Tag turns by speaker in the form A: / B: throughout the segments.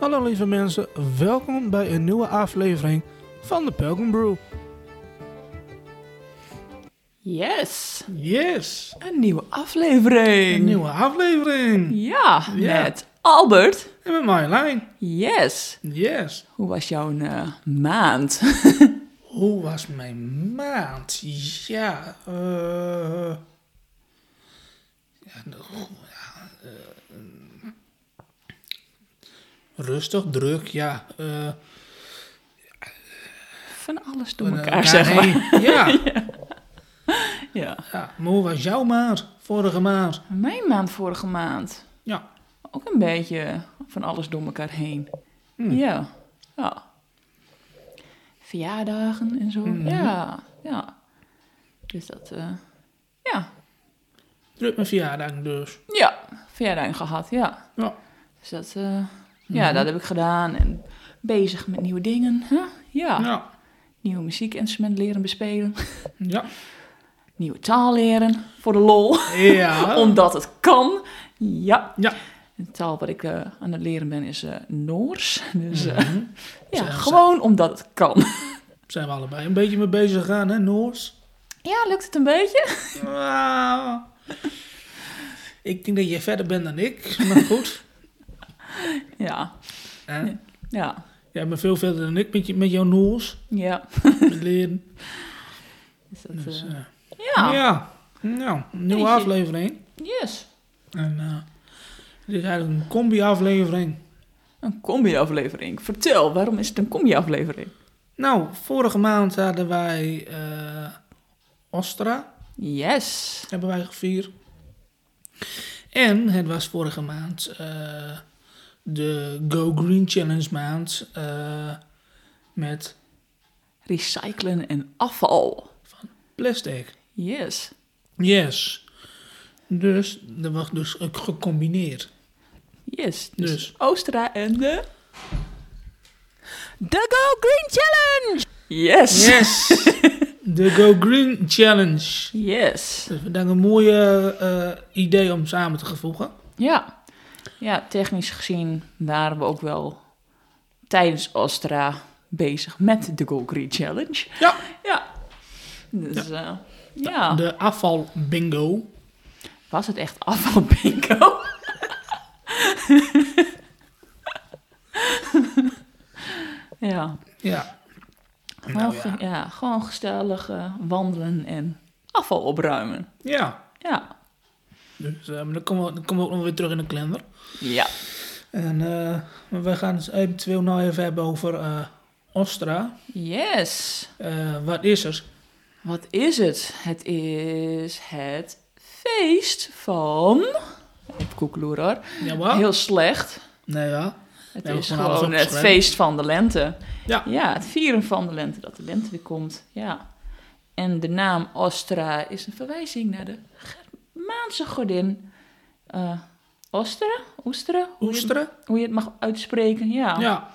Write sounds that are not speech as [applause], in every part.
A: Hallo lieve mensen, welkom bij een nieuwe aflevering van de Pelgrim Brew.
B: Yes,
A: Yes,
B: een nieuwe aflevering.
A: een nieuwe aflevering.
B: Ja,
A: Ja.
B: met Albert.
A: En met Marjolein.
B: Yes.
A: Yes.
B: Hoe was jouw eh, maand? [laughs]
A: Hoe was mijn maand? Ja, eh... ja, nou, ja, eh, rustig, druk, ja. eh,
B: Van alles door
A: eh,
B: elkaar, zeg maar.
A: nee, Ja,
B: Ja.
A: ja, maar hoe was jouw maand? Vorige maand?
B: Mijn maand vorige maand.
A: Ja.
B: Ook een beetje van alles door elkaar heen. Ja. ja. Verjaardagen en zo. Ja, ja. Dus dat, eh, ja.
A: Druk mijn verjaardag dus.
B: Ja, verjaardagen gehad, ja.
A: Ja.
B: Dus dat, eh, ja, dat heb ik gedaan. En bezig met nieuwe dingen. Huh? Ja.
A: Ja.
B: Nieuwe muziekinstrument leren bespelen.
A: Ja.
B: Nieuwe taal leren. Voor de lol.
A: Ja.
B: Omdat het kan. Ja.
A: Ja.
B: De taal wat ik eh, aan het leren ben is eh, Noors. Dus eh,
A: Mhm.
B: ja,
A: Zo, zo.
B: gewoon omdat het kan.
A: Zijn we allebei een beetje mee bezig gegaan, hè, Noors?
B: Ja, lukt het een beetje?
A: Ah. ik denk dat je verder bent dan ik, maar
B: [laughs]
A: goed.
B: Ja.
A: Eh,
B: Ja.
A: Jij bent veel verder dan ik met, je, met jouw Noors.
B: Ja.
A: Met leren.
B: Dus [laughs] dat,
A: Dus,
B: eh,
A: eh,
B: ja.
A: ja. Nou, een nieuwe
B: Jeetje.
A: aflevering.
B: Yes.
A: En eh, dit is eigenlijk een combi-aflevering.
B: Een combi-aflevering. Vertel, waarom is het een combi-aflevering?
A: Nou, vorige maand hadden wij eh, Ostra.
B: Yes.
A: hebben wij gevierd. En het was vorige maand eh, de Go Green Challenge maand eh, met
B: Recyclen en afval.
A: plastic.
B: Yes.
A: Yes. Dus dat was dus ook gecombineerd.
B: Yes. Dus,
A: Dus.
B: Oostra en de... De Go Green Challenge! Yes.
A: Yes! de Go Green Challenge.
B: Yes.
A: Dus we denken een mooie eh, idee om samen te voegen.
B: Ja. Ja, technisch gezien waren we ook wel tijdens Oostra bezig met de Go Green Challenge.
A: Ja.
B: Ja. Dus ja, ja.
A: De afval bingo.
B: was het echt afval bingo? [laughs] ja.
A: Ja.
B: Gewoon,
A: Nou
B: ge-
A: ja.
B: ja. gewoon gezellig eh, wandelen en afval opruimen.
A: ja.
B: Ja.
A: Dus eh, maar dan komen, we, dan komen we ook nog weer terug in de kalender.
B: Ja.
A: En eh, we gaan het eventueel nou even hebben over eh, Ostra.
B: Yes.
A: Eh, wat is er?
B: Wat is het? Het is het feest van... Op koekeloer hoor.
A: Jawel?
B: Heel slecht.
A: Nee, Oh. ja.
B: Het
A: hebben
B: is
A: gewoon alles
B: gewoon het
A: opgeschreven.
B: feest van de lente.
A: Ja.
B: Ja, het vieren van de lente. Dat de lente weer komt. Ja. En de naam Ostra is een verwijzing naar de Germaanse godin... eh Ostra? Oestra? Hoe je het
A: Oestra?
B: hoe je het mag uitspreken, ja.
A: Ja.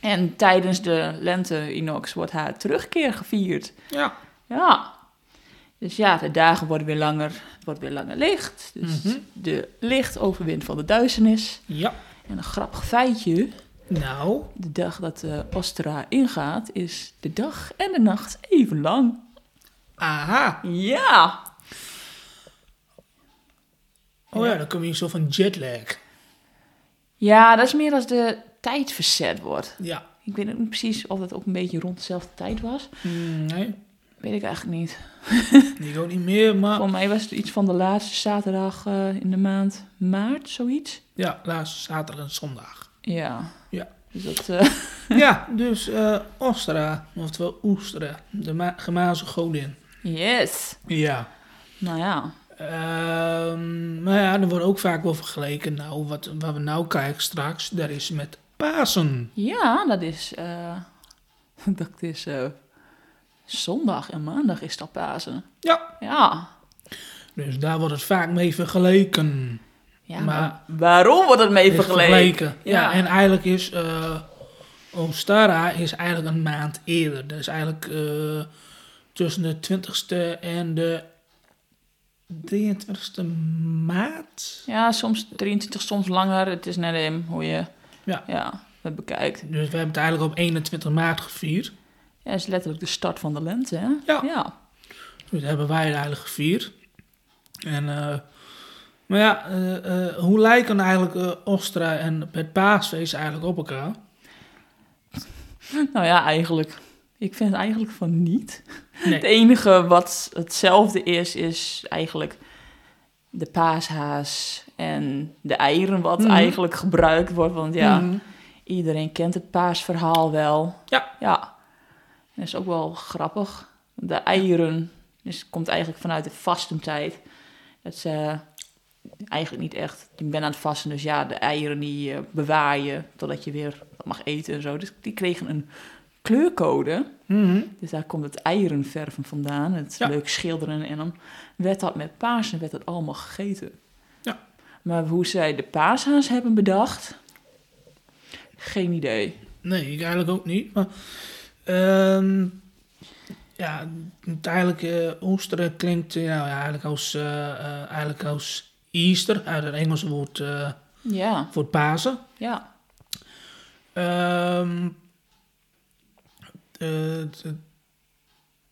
B: En tijdens de lente-inox wordt haar terugkeer gevierd.
A: Ja.
B: Ja. Dus ja, de dagen worden weer langer, het wordt weer langer licht. Dus
A: Mhm.
B: de licht overwint van de duisternis.
A: Ja.
B: En een grappig feitje,
A: Nou,
B: de dag dat eh Ostra ingaat, is de dag en de nacht even lang.
A: aha.
B: Ja!
A: Oh ja, dan kom je zo van jetlag.
B: Ja, dat is meer als de tijd verzet wordt.
A: Ja.
B: Ik weet ook niet precies of dat ook een beetje rond dezelfde tijd was.
A: Mm, nee,
B: Weet ik eigenlijk niet.
A: ik ook niet meer, maar...
B: Voor mij was het iets van de laatste zaterdag eh, in de maand maart, zoiets.
A: Ja, laatst zaterdag en
B: [laughs]
A: zondag.
B: Ja.
A: Ja.
B: Dus dat, eh, [laughs]
A: ja, dus eh, Ostra, oftewel Oestra, de ma- Gemaanse godin.
B: yes.
A: Ja.
B: Nou ja.
A: Ehm, maar ja, er wordt ook vaak wel vergeleken. Nou, wat, wat we nou kijken straks, dat is met Pasen.
B: Ja, dat is, eh, [laughs] dat is eh, zondag en maandag is dat Pasen.
A: Ja.
B: Ja.
A: Dus daar wordt het vaak mee vergeleken.
B: ja
A: Maar-
B: maar, waarom wordt het mee vergeleken?
A: Ja.
B: Ja.
A: en eigenlijk is eh Ostara is eigenlijk een maand eerder. Dat is eigenlijk eh, tussen de 20ste en de 23ste maart.
B: Ja, soms 23, soms langer. Het is net hem hoe je...
A: Ja.
B: ja. eh, bekijkt.
A: Dus we hebben het eigenlijk op 21 maart gevierd.
B: Ja, is letterlijk de start van de lente, hè?
A: Ja.
B: ja.
A: Dus dat hebben wij het eigenlijk gevierd. En, eh, maar ja, eh, eh, hoe lijken eigenlijk eh, Ostra en het paasfeest eigenlijk op elkaar?
B: Nou ja, eigenlijk. Ik vind het eigenlijk van niet. Het
A: Nee,
B: enige wat hetzelfde is, is eigenlijk de paashaas en de eieren wat
A: Mhm.
B: eigenlijk gebruikt wordt. Want ja,
A: Mhm.
B: iedereen kent het paasverhaal wel.
A: Ja.
B: Ja. En dat is ook wel grappig. De eieren dus komt eigenlijk vanuit de vastentijd. Dat is eh, eigenlijk niet echt... Je bent aan het vasten, dus ja, de eieren die eh, bewaar je totdat je weer wat mag eten en zo. Dus die kregen een kleurcode.
A: Mhm.
B: Dus daar komt het eierenverven vandaan, het
A: Ja.
B: leuk schilderen. En dan werd dat met paas en werd dat allemaal gegeten.
A: Ja.
B: Maar hoe zij de paashaas hebben bedacht, geen idee.
A: nee, ik eigenlijk ook niet. Maar, ehm, ja, het eigenlijk eh Ostra klinkt eh, nou, ja, eigenlijk, als, eh, eh, eigenlijk als Easter, uit het Engelse woord eh,
B: Ja,
A: voor Pasen.
B: ja.
A: Ehm, eh, het-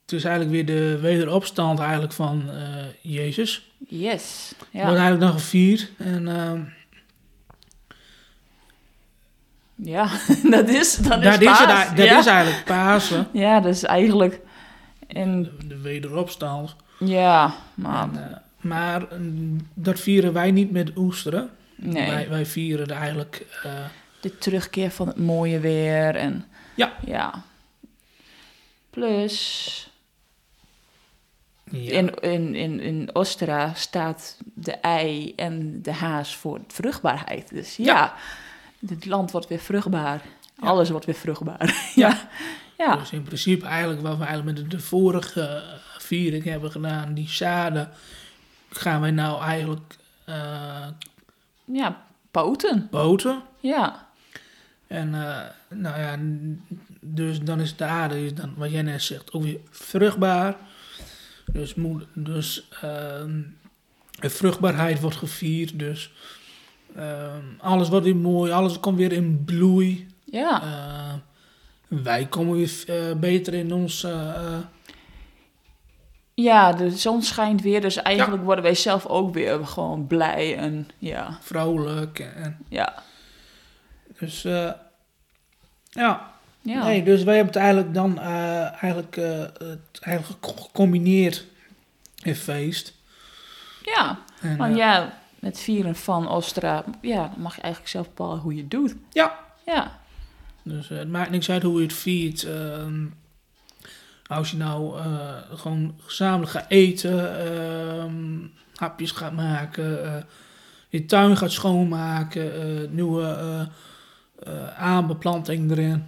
A: het is eigenlijk weer de wederopstand eigenlijk van eh, Jezus.
B: Yes.
A: Wordt
B: Ja.
A: eigenlijk dan gevierd. En ehm,
B: ja, [laughs] dat is, dat is
A: dat, is, het,
B: paas.
A: dat
B: ja.
A: is eigenlijk Pasen.
B: ja, dat is eigenlijk... En
A: De, de wederopstand.
B: ja, maar
A: En, eh, maar mm, dat vieren wij niet met oesteren.
B: nee.
A: Wij, wij vieren het eigenlijk... eh,
B: De terugkeer van het mooie weer en...
A: Ja.
B: Ja. Plus...
A: ja.
B: In, in, in, in Ostra staat de ei en de haas voor vruchtbaarheid. Dus ja,
A: Ja.
B: het land wordt weer vruchtbaar.
A: Ja.
B: Alles wordt weer vruchtbaar. [laughs]
A: Ja.
B: ja. ja.
A: Dus in principe eigenlijk wat we eigenlijk met de, de vorige eh, viering hebben gedaan, die zaden, gaan wij nou eigenlijk eh,
B: Ja, poten.
A: boten.
B: Ja.
A: En eh, nou ja, n- dus dan is de aarde, is dan, wat jij net zegt, ook weer vruchtbaar. Dus, moed- dus ehm, de vruchtbaarheid wordt gevierd. Dus ehm, alles wordt weer mooi, alles komt weer in bloei.
B: Ja.
A: Eh, wij komen weer eh, beter in ons. eh, eh,
B: ja, de zon schijnt weer. Dus eigenlijk worden wij zelf ook weer gewoon blij. En ja,
A: vrouwelijk. En,
B: ja,
A: dus eh, ja.
B: ja.
A: Nee, dus wij hebben het eigenlijk dan eh, eigenlijk, eh, het eigenlijk gecom- gecombineerd in feest.
B: ja.
A: En, eh,
B: Want Oh, ja, het vieren van Ostra, ja, dan mag je eigenlijk zelf bepalen hoe je het doet.
A: ja.
B: Ja,
A: Dus eh, het maakt niks uit hoe je het viert. ehm, als je nou eh, gewoon gezamenlijk gaat eten, ehm, hapjes gaat maken, eh, je tuin gaat schoonmaken, eh, nieuwe eh, eh, aanbeplanting erin.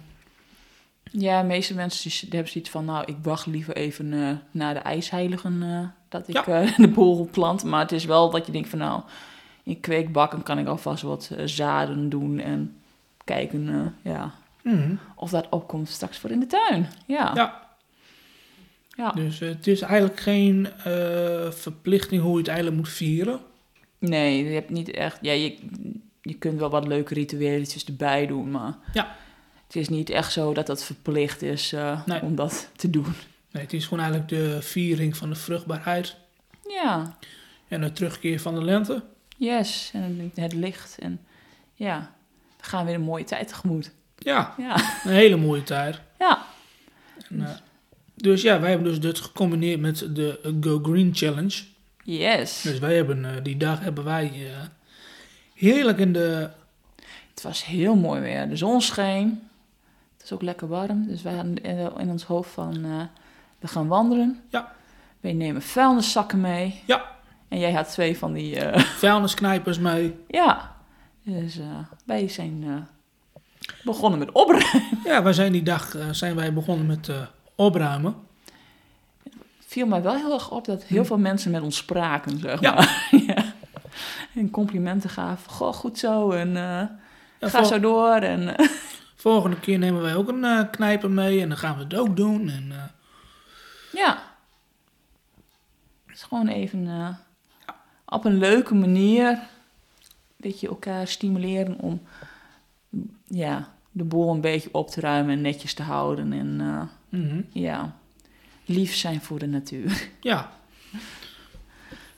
B: Ja, de meeste mensen die z- die hebben zoiets van, nou, ik wacht liever even eh, naar de ijsheiligen eh, dat
A: Ja.
B: ik eh, [laughs] de boel plant. Maar het is wel dat je denkt van, nou, in kweekbakken kan ik alvast wat eh, zaden doen en kijken eh, ja,
A: Mhm.
B: of dat opkomt straks voor in de tuin. Ja, ja.
A: Ja. Dus eh, het is eigenlijk geen eh, verplichting hoe je het eigenlijk moet vieren.
B: nee, je hebt niet echt, ja, je, je kunt wel wat leuke ritueeltjes erbij doen, maar
A: Ja.
B: het is niet echt zo dat dat verplicht is eh,
A: Nee.
B: om dat te doen.
A: Nee, het is gewoon eigenlijk de viering van de vruchtbaarheid
B: Ja,
A: en de terugkeer van de lente.
B: Yes, en het licht. En ja, we gaan weer een mooie tijd tegemoet.
A: Ja,
B: Ja,
A: een hele mooie tijd.
B: ja,
A: En, eh, dus ja, wij hebben dus dit gecombineerd met de eh, Go Green Challenge.
B: yes.
A: Dus wij hebben, eh, die dag hebben wij eh, heerlijk in de...
B: Het was heel mooi weer. De zon scheen. Het was ook lekker warm. Dus wij hadden in in ons hoofd van, eh, we gaan wandelen.
A: Ja.
B: Wij nemen vuilniszakken mee.
A: Ja.
B: En jij had twee van die, eh, [laughs]
A: vuilnisknijpers mee.
B: ja. Dus eh, wij zijn eh, begonnen met opruimen.
A: Ja, wij zijn die dag eh, zijn wij begonnen met eh, opruimen.
B: viel mij wel heel erg op dat heel veel mensen met ons spraken, zeg
A: Hm. Ja.
B: maar. [laughs] ja. En complimenten gaven. Goh, goed zo. En eh,
A: Ja,
B: ga
A: vol-
B: zo door. En eh, [laughs]
A: Volgende keer nemen wij ook een eh, knijper mee en dan gaan we het ook doen. En, eh,
B: ja. Dus gewoon even eh, op een leuke manier dat je elkaar stimuleren om ja, de boel een beetje op te ruimen en netjes te houden. En eh,
A: Mhm.
B: ja, lief zijn voor de natuur.
A: Ja.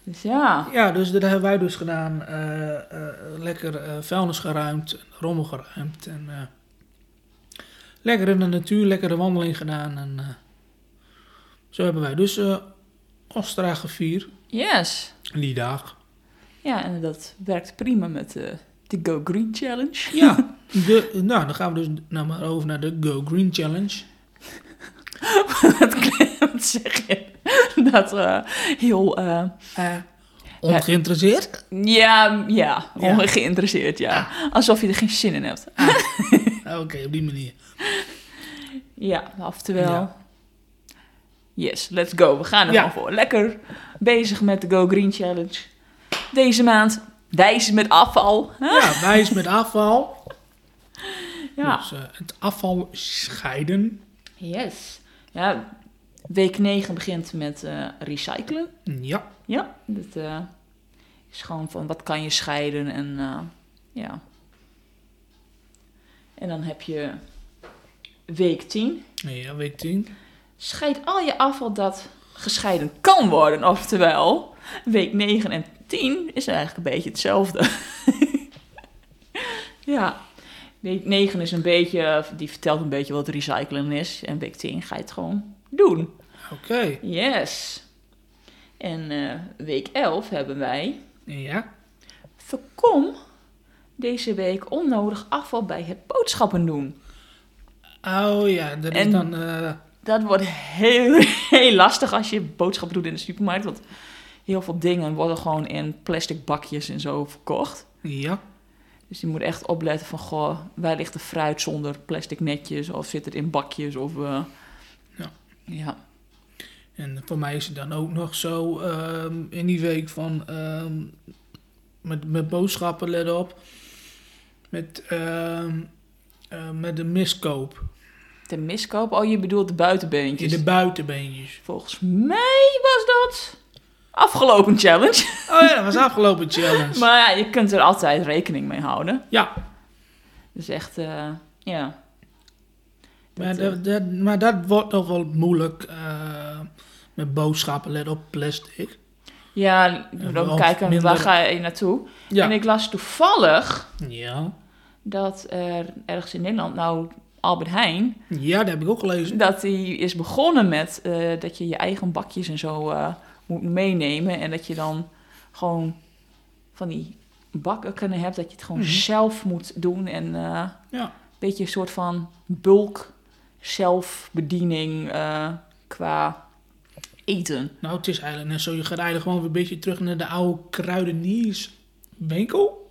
B: Dus ja,
A: ja, dus dat hebben wij dus gedaan. eh, eh, lekker eh, vuilnis geruimd, rommel geruimd. En, eh, lekker in de natuur, lekkere wandeling gedaan. En, eh, zo hebben wij dus eh Ostra gevierd,
B: yes.
A: die dag.
B: Ja, en dat werkt prima met de, de Go Green Challenge. [laughs]
A: [laughs] Ja, de, nou, dan gaan we dus nou maar over naar de Go Green Challenge.
B: Wat zeg je? Dat eh, heel, eh,
A: Eh ongeïnteresseerd?
B: ja, ja,
A: Ja.
B: ongeïnteresseerd, ja. Alsof je er geen zin in hebt.
A: Nou, Oké, op die manier.
B: Ja, oftewel.
A: Ja.
B: Yes, let's go. We gaan er
A: Ja.
B: gewoon voor. Lekker bezig met de Go Green Challenge. Deze maand wijzen met afval. hè?
A: Ja, wijs met afval.
B: Ja.
A: Dus eh, het afval scheiden.
B: Yes. Ja, week 9 begint met eh, recyclen.
A: Ja,
B: Ja. Dat eh, is gewoon van wat kan je scheiden en eh, ja. En dan heb je week 10.
A: ja week 10.
B: Scheid al je afval dat gescheiden kan worden. Oftewel, week 9 en 10 is eigenlijk een beetje hetzelfde. [laughs] ja, week 9 is een beetje, die vertelt een beetje wat recyclen is. En week 10 ga je het gewoon doen.
A: Oké.
B: Yes. En eh, week 11 hebben wij.
A: Ja.
B: Voorkom deze week onnodig afval bij het boodschappen doen.
A: Oh ja, dat
B: En-
A: is dan... eh,
B: Dat wordt heel, [laughs] heel lastig als je boodschappen doet in de supermarkt. Want heel veel dingen worden gewoon in plastic bakjes en zo verkocht.
A: ja.
B: Dus je moet echt opletten van, goh, waar ligt de fruit zonder plastic netjes? Of zit het in bakjes? Of, eh,
A: Ja.
B: ja.
A: En voor mij is het dan ook nog zo ehm, in die week van... ehm, met, met boodschappen, let op. Met, ehm, eh, met de miskoop.
B: De miskoop? Oh, je bedoelt de buitenbeentjes.
A: De buitenbeentjes.
B: Volgens mij was dat afgelopen challenge. [laughs]
A: Oh ja, dat [laughs] was afgelopen challenge.
B: Maar ja, je kunt er altijd rekening mee houden.
A: ja,
B: Dus echt, eh, ja.
A: maar
B: eh,
A: dat, dat- maar dat wordt nog wel moeilijk eh, met boodschappen, let op, plastic.
B: ja, je moet
A: wel
B: ook kijken
A: minder-
B: waar ga je naartoe.
A: Ja,
B: En ik las toevallig
A: ja.
B: dat er ergens in Nederland, nou Albert Heijn,
A: ja dat heb ik ook gelezen.
B: dat hij is begonnen met eh, dat je je eigen bakjes en zo eh, moet meenemen. En dat je dan gewoon van die bakken kunnen hebt, dat je het gewoon
A: Mhm.
B: zelf moet doen. En eh,
A: Ja.
B: een beetje een soort van bulk zelfbediening eh, qua eten.
A: Nou, het is eigenlijk net zo, je gaat eigenlijk gewoon weer een beetje terug naar de oude kruidenierswinkel.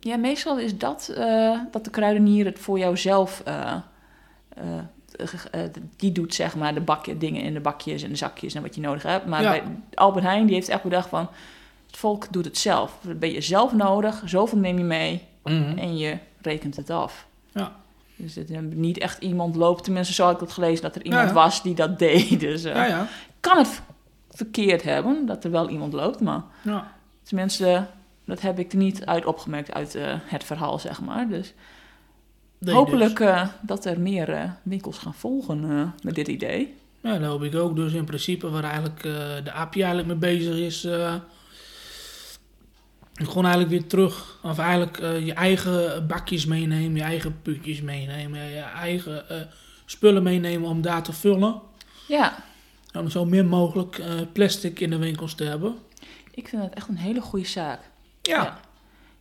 B: Ja, meestal is dat eh, dat de kruidenier het voor jou zelf eh, eh, ge- eh, die doet, zeg maar, de bakje, dingen in de bakjes en de zakjes en wat je nodig hebt. Maar
A: Ja.
B: bij Albert Heijn, die heeft echt bedacht van, het volk doet het zelf. Dat ben je zelf nodig, zoveel neem je mee en je rekent het af.
A: Ja.
B: Dus het, eh, niet echt iemand loopt, tenminste zo had ik het gelezen, dat er iemand
A: ja.
B: was die dat deed. [laughs] Dus eh,
A: Ja, ja.
B: kan het verkeerd hebben, dat er wel iemand loopt, maar...
A: ja.
B: Tenminste, dat heb ik er niet uit opgemerkt uit eh, het verhaal, zeg maar. Dus
A: Nee,
B: hopelijk eh, dat er meer eh, winkels gaan volgen eh, met dit idee.
A: dus. Ja, dat hoop ik ook. Dus in principe waar eigenlijk eh, de API eigenlijk mee bezig is... eh, gewoon eigenlijk weer terug. Of eigenlijk eh, je eigen bakjes meenemen, je eigen putjes meenemen... je eigen eh, spullen meenemen om daar te vullen.
B: Ja,
A: Om zo min mogelijk eh, plastic in de winkels te hebben.
B: ik vind dat echt een hele goede zaak.
A: Ja.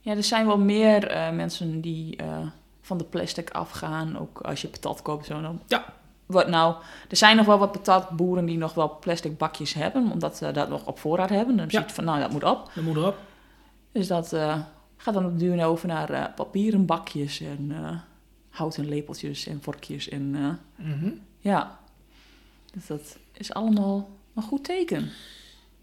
B: Ja, er zijn wel meer eh, mensen die eh, van de plastic afgaan, ook als je patat koopt. Zo, dan.
A: Ja.
B: Wat nou, er zijn nog wel wat patatboeren die nog wel plastic bakjes hebben, omdat ze dat nog op voorraad hebben. Dan
A: Ja.
B: ziet van, nou, dat moet op.
A: Dat moet op.
B: Dus dat eh, gaat dan op de duur over naar eh, papieren bakjes en eh, houten lepeltjes en vorkjes. En eh,
A: Mhm.
B: ja, dus dat is allemaal een goed teken.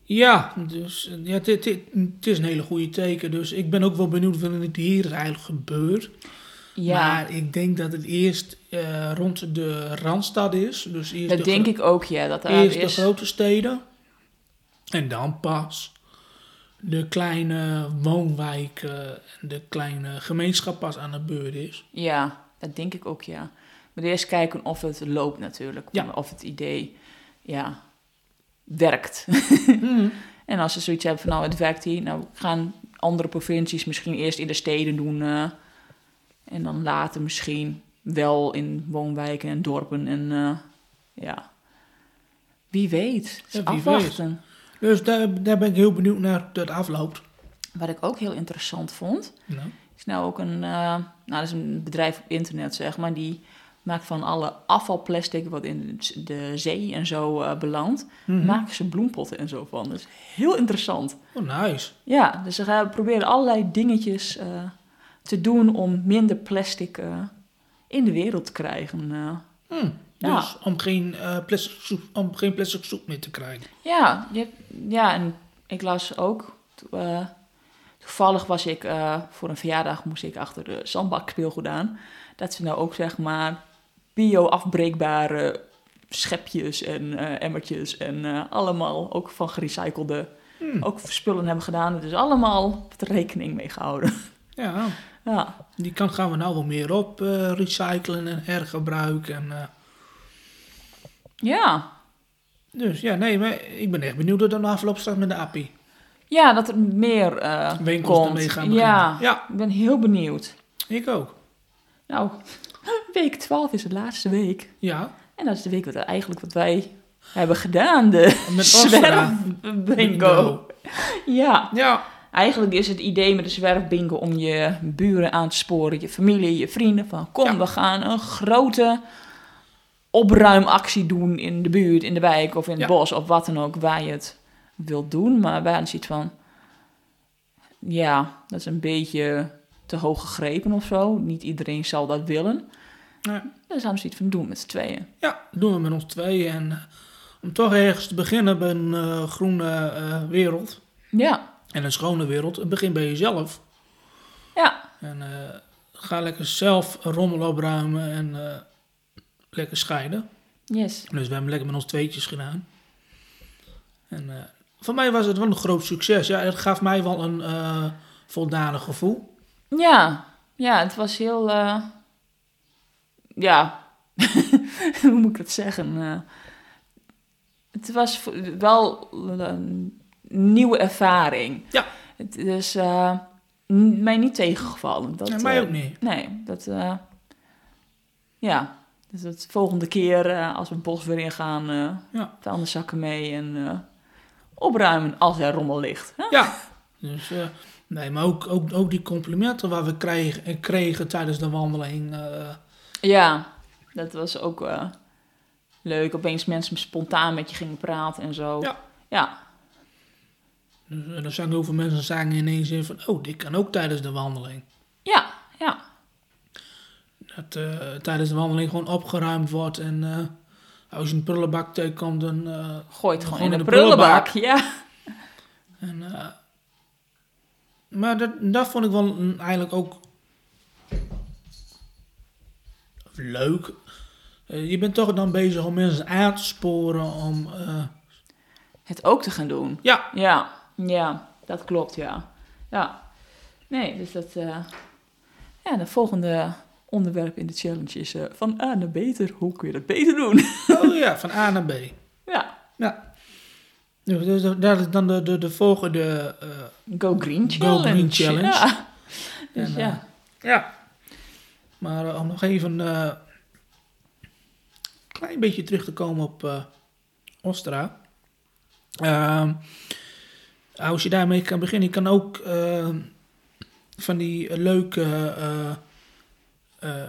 A: Ja, dus eh, ja, het- het het is een hele goede teken. Dus ik ben ook wel benieuwd wat het hier eigenlijk gebeurt.
B: Ja,
A: Maar ik denk dat het eerst eh, rond de Randstad is. Dus eerst,
B: dat
A: de,
B: denk
A: gro-
B: ik ook, ja. Dat daar
A: eerst
B: is.
A: de grote steden. En dan pas de eh, kleine woonwijken en de kleine gemeenschap pas aan de beurt is.
B: Ja, Dat denk ik ook, ja. Maar eerst kijken of het loopt natuurlijk.
A: Ja.
B: Of het idee, ja, werkt. [laughs]
A: Mhm.
B: En als ze zoiets hebben van, nou, het werkt hier. Nou, gaan andere provincies misschien eerst in de steden doen. eh, en dan later misschien wel in woonwijken en dorpen. En eh, ja, wie weet.
A: Ja, wie
B: Afwachten.
A: Dus daar, daar ben ik heel benieuwd naar hoe dat afloopt.
B: Wat ik ook heel interessant vond,
A: Nou,
B: is nou ook een, eh, nou, dat is een bedrijf op internet, zeg maar, die maakt van alle afvalplastic wat in de zee en zo eh, belandt,
A: Mhm.
B: maken ze bloempotten en zo van. Dat is heel interessant.
A: oh, nice.
B: Ja, dus ze gaan proberen allerlei dingetjes eh, te doen om minder plastic eh, in de wereld te krijgen. eh.
A: Hm.
B: Ja.
A: Dus om geen, eh, plastic soep, om geen plastic soep meer te krijgen.
B: Ja, je, ja, en ik las ook. to- eh, toevallig was ik eh, voor een verjaardag moest ik achter de zandbak speelgoed aan. Dat ze nou ook zeg maar bio-afbreekbare schepjes en eh, emmertjes en eh, allemaal ook van gerecyclede ook spullen hebben gedaan. Dus allemaal wat rekening mee gehouden. [laughs]
A: Ja,
B: ja.
A: die kant gaan we nou wel meer op. eh, recyclen en hergebruiken. En, eh,
B: ja,
A: dus ja, nee, maar ik ben echt benieuwd hoe dat nou afloopt straks met de appie.
B: ja, dat er meer eh
A: Winkels
B: komt.
A: ermee gaan beginnen.
B: ja,
A: Ja.
B: ik ben heel benieuwd.
A: Ik ook.
B: Nou, [laughs] week 12 is de laatste week.
A: Ja,
B: En dat is de week wat eigenlijk wat wij hebben gedaan, de [laughs]
A: met Nou. Ostra.
B: zwerfbingo. Ja,
A: Ja,
B: eigenlijk is het idee met de zwerfbingo om je buren aan te sporen, je familie, je vrienden. Van kom,
A: Ja.
B: we gaan een grote opruimactie doen in de buurt, in de wijk of in het
A: Ja.
B: bos of wat dan ook waar je het wilt doen. Maar wij hadden zoiets van, ja, dat is een beetje te hoog gegrepen of zo. Niet iedereen zal dat willen.
A: Nee.
B: Dus hadden we zoiets van, doen met z'n tweeën.
A: ja, doen we met ons twee. En eh, om toch ergens te beginnen bij een eh, groene eh, wereld
B: Ja,
A: en een schone wereld, begin bij jezelf.
B: ja.
A: En eh, ga lekker zelf rommel opruimen en eh, lekker scheiden.
B: Yes.
A: Dus we hebben lekker met ons tweetjes gedaan. En eh, voor mij was het wel een groot succes. Ja, het gaf mij wel een eh voldanig gevoel.
B: Ja, ja, het was heel. eh, ja, [laughs] hoe moet ik dat zeggen? Eh, het was voor- wel een nieuwe ervaring.
A: Ja.
B: Het is eh, n- mij niet tegengevallen. Dat,
A: en mij
B: eh,
A: ook niet.
B: Nee, dat. eh, ja, dus dat volgende keer eh, als we het bos weer ingaan, eh
A: Ja.
B: vuilniszakken mee en eh, opruimen als er rommel ligt. hè?
A: Ja. Dus, eh, nee, maar ook, ook, ook die complimenten waar we kregen, kregen tijdens de wandeling. eh,
B: Ja, dat was ook eh, leuk. Opeens mensen spontaan met je gingen praten en zo.
A: Ja.
B: Ja,
A: dus, eh, er zijn heel veel mensen zagen ineens in van, oh, dit kan ook tijdens de wandeling.
B: ja, ja.
A: Dat eh, tijdens de wandeling gewoon opgeruimd wordt en eh, als je een prullenbak tegenkomt, dan... eh,
B: Gooi het gewoon,
A: Gewoon
B: in de
A: in de prullenbak.
B: prullenbak. Ja.
A: En, eh, maar dat, dat vond ik wel een- eigenlijk ook leuk. Eh, je bent toch dan bezig om mensen aan te sporen om... eh,
B: Het ook te gaan doen.
A: ja, [laughs]
B: Ja, ja, dat klopt, ja. Ja. Nee, dus dat... eh ja, de volgende onderwerp in de challenge is eh, van A naar beter. Hoe kun je dat beter doen? [laughs]
A: oh ja, van A naar B.
B: ja,
A: Ja. Dus dat is- dat is dan de, de, de volgende... eh,
B: Go Green
A: Go
B: Challenge.
A: Green Challenge.
B: Ja. Dus
A: En, eh,
B: ja,
A: ja. Maar eh, om nog even eh, een klein beetje terug te komen op eh, Ostra. Ehm, als je daarmee kan beginnen, je kan ook ehm, van die leuke eh, eh,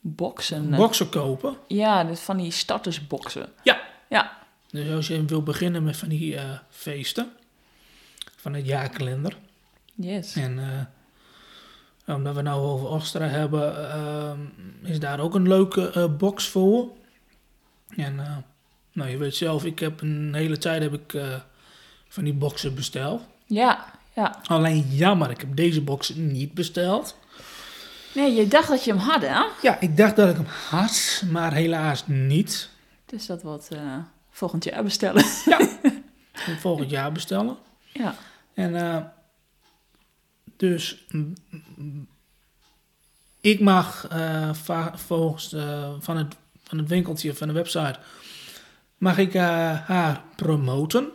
B: boksen.
A: boxen kopen.
B: Ja, dus van die startersboksen.
A: Ja.
B: Ja,
A: Dus als je wil beginnen met van die eh, feesten van het jaarkalender.
B: yes.
A: En eh, omdat we nou over Ostra hebben, ehm, is daar ook een leuke eh, box voor. En eh, nou, je weet zelf, ik heb een hele tijd heb ik, eh, van die boxen besteld.
B: Ja, ja.
A: Alleen jammer, ik heb deze box niet besteld.
B: Nee, je dacht dat je hem had, hè?
A: Ja, ik dacht dat ik hem had, maar helaas niet.
B: Dus dat wat eh, volgend jaar [laughs] bestellen.
A: Ik moet volgend jaar bestellen.
B: ja.
A: En eh, dus mm, mm, Ik mag eh, va- volgens eh, van, het, van het winkeltje, van de website, mag ik eh, haar promoten.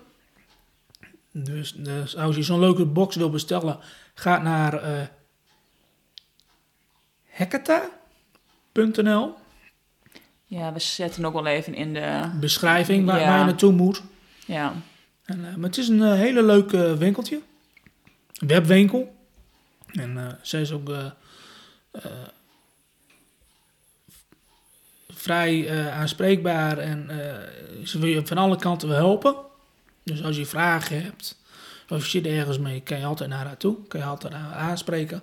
A: Dus, dus als je zo'n leuke box wil bestellen, ga naar eh hekata.nl.
B: Ja, we zetten ook wel even in de...
A: Beschrijving waar,
B: Ja.
A: waar je naartoe moet.
B: Ja,
A: En, eh, maar het is een eh, hele leuk eh, winkeltje. Webwinkel. En eh, zij is ook eh, eh, vrij eh, aanspreekbaar en eh, ze wil je van alle kanten wel helpen. Dus als je vragen hebt, of je zit ergens mee, kan je altijd naar haar toe. Kan je altijd haar aanspreken.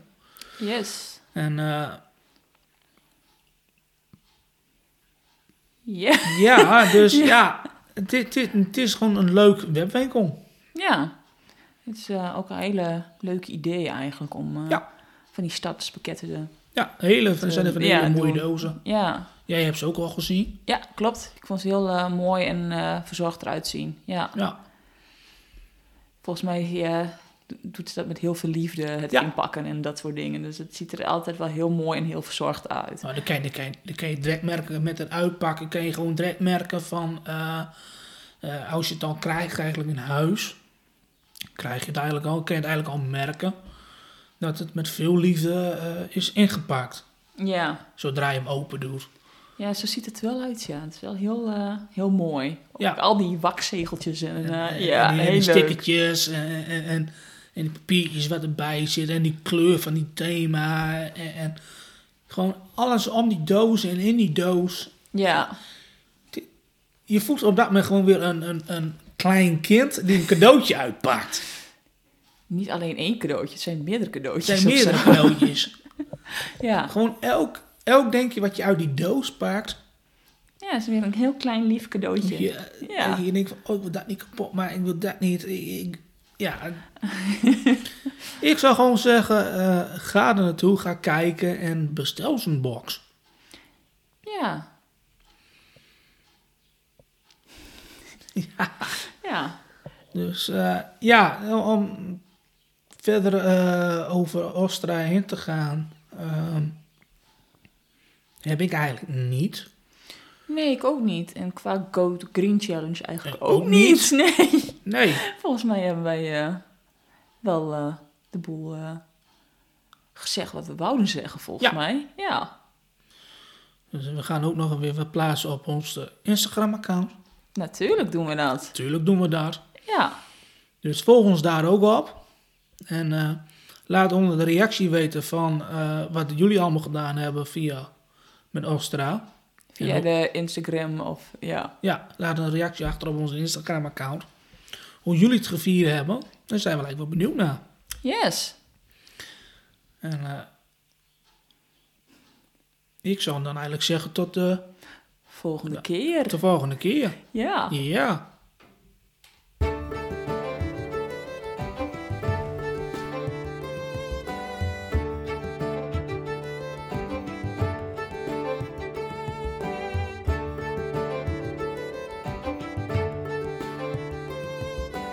B: yes.
A: En eh,
B: Ja.
A: ja, dus ja, het, het, het- het is gewoon een leuk webwinkel.
B: ja. Het is eh, ook een hele leuke idee eigenlijk om eh,
A: Ja.
B: van die stadspakketten... te-
A: Ja, hele, er zijn van die
B: Ja,
A: hele mooie
B: doen.
A: dozen.
B: Ja.
A: Jij hebt ze ook al gezien.
B: ja, klopt. Ik vond ze heel eh, mooi en eh, verzorgd eruit zien. Ja.
A: Ja.
B: Volgens mij eh, do- doet ze dat met heel veel liefde, het
A: Ja.
B: inpakken en dat soort dingen. Dus het ziet er altijd wel heel mooi en heel verzorgd uit.
A: Nou, dan kan je, dan kan je, dan kan je direct merken met het uitpakken, kan je gewoon direct merken van eh, eh, als je het dan krijgt eigenlijk in huis, krijg je het eigenlijk al, kan je het eigenlijk al merken dat het met veel liefde eh, is ingepakt,
B: Ja.
A: zodra je hem open doet.
B: ja, zo ziet het er wel uit, ja. Het is wel heel, eh, heel mooi. Ook
A: Ja.
B: al die wakzegeltjes en eh,
A: En-
B: ja,
A: en die, en die
B: heel leuk.
A: stickertjes en, en, en, en die papiertjes wat erbij zit en die kleur van die thema en, en gewoon alles om die doos en in die doos.
B: Ja,
A: Je voelt op dat moment gewoon weer een, een, een klein kind die een cadeautje uitpakt.
B: [laughs] niet alleen één cadeautje, het zijn meerdere
A: Het
B: cadeautjes.
A: zijn
B: of zo.
A: meerdere cadeautjes.
B: [laughs] Ja.
A: Gewoon elk, elk denkje wat je uit die doos pakt.
B: ja, het is weer een heel klein lief cadeautje.
A: Je,
B: Ja.
A: je denkt van, oh, ik wil dat niet kapot, maar ik wil dat niet. Ik, ik-
B: [laughs]
A: ja. ik zou gewoon zeggen, eh, ga er naartoe, ga kijken en bestel zo'n box.
B: Ja. Ja.
A: Dus eh, ja, om verder eh, over Ostra heen te gaan, ehm, heb ik eigenlijk niet.
B: Nee, ik ook niet. En qua Go to Green Challenge eigenlijk
A: Eh,
B: ook,
A: ook
B: niet. [laughs] Nee.
A: Nee.
B: Volgens mij hebben wij eh, wel eh, de boel eh, gezegd wat we wouden zeggen, volgens
A: Ja.
B: mij. Ja.
A: Dus we gaan ook nog weer wat plaatsen op ons eh, Instagram-account.
B: Natuurlijk doen we dat.
A: Tuurlijk doen we dat.
B: Ja.
A: Dus volg ons daar ook op. En eh, laat onder de reactie weten van eh, wat jullie allemaal gedaan hebben via met Ostra.
B: Via
A: Ja.
B: de Instagram of ja.
A: Ja, laat een reactie achter op onze Instagram-account. Hoe jullie het gevierd hebben, daar zijn we eigenlijk wel benieuwd naar.
B: Yes.
A: En eh, ik zou dan eigenlijk zeggen eh, tot de,
B: Volgende keer.
A: de volgende keer.
B: Ja.
A: Ja,